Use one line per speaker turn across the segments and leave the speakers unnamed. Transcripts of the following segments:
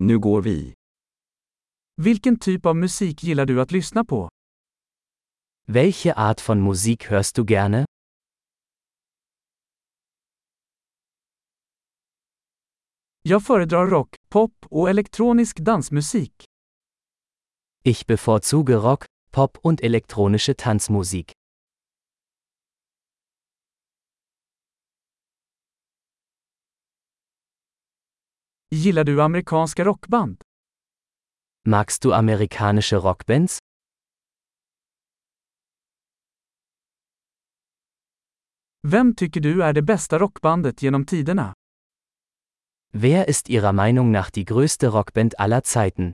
Nu går vi.
Vilken typ av musik gillar du att lyssna på?
Welche Art von Musik hörst du gerne?
Jag föredrar rock, pop och elektronisk dansmusik.
Ich bevorzuge Rock, Pop und elektronische Tanzmusik.
Gillar du amerikanska rockband?
Magst du amerikanische Rockbands?
Vem tycker du är det bästa rockbandet genom tiderna?
Wer ist Ihrer Meinung nach die größte Rockband aller Zeiten?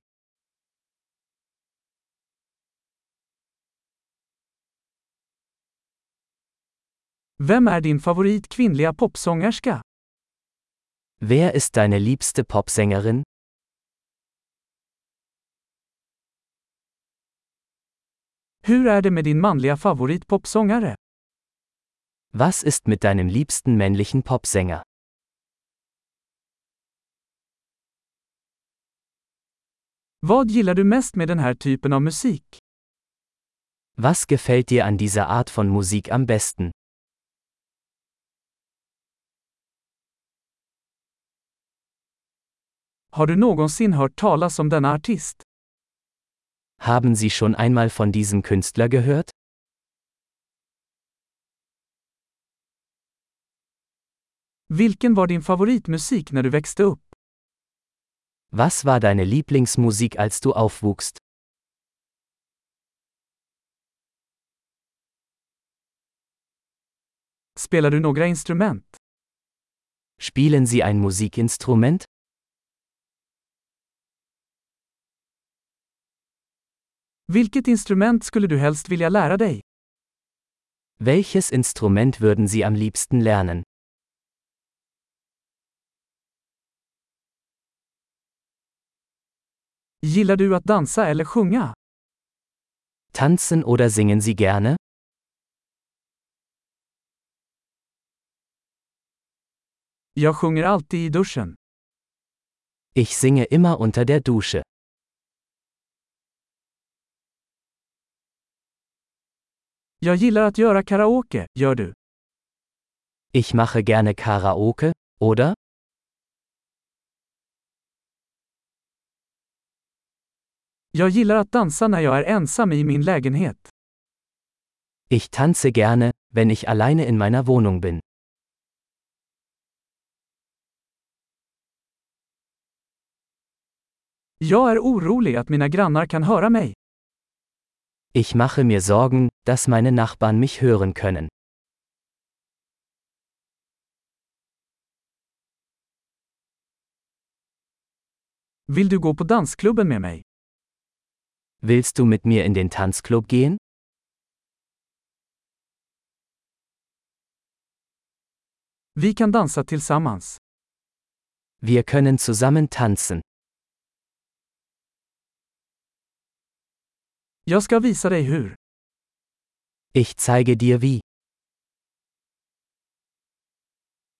Vem är din favorit kvinnliga popsångerska?
Wer ist deine liebste Popsängerin?
Hur är det med din manliga favorit popsångare?
Was ist mit deinem liebsten männlichen Popsänger?
Vad gillar du mest med den här typen av musik?
Was gefällt dir an dieser Art von Musik am besten?
Har du någonsin hört talas om denna artist?
Haben Sie schon einmal von diesem Künstler gehört?
Vilken var din favoritmusik när du växte upp?
Was war deine Lieblingsmusik, als du aufwuchst?
Spelar du några instrument?
Spielen Sie ein Musikinstrument?
Vilket instrument skulle du helst vilja lära dig?
Welches Instrument würden Sie am liebsten lernen?
Gillar du att dansa eller sjunga?
Tanzen oder singen Sie gerne?
Jag sjunger alltid i duschen.
Ich singe immer unter der Dusche.
Jag gillar att göra karaoke, gör du?
Ich mache gerne Karaoke, oder?
Jag gillar att dansa när jag är ensam i min lägenhet.
Ich tanze gerne, wenn ich alleine in meiner Wohnung bin.
Jag är orolig att mina grannar kan höra mig.
Ich mache mir Sorgen, dass meine Nachbarn mich hören können.
Vill du gå på dansklubben med mig?
Willst du mit mir in den Tanzclub gehen?
Vi kan dansa tillsammans.
Wir können zusammen tanzen.
Jag ska visa dig hur.
Ich zeige dir wie.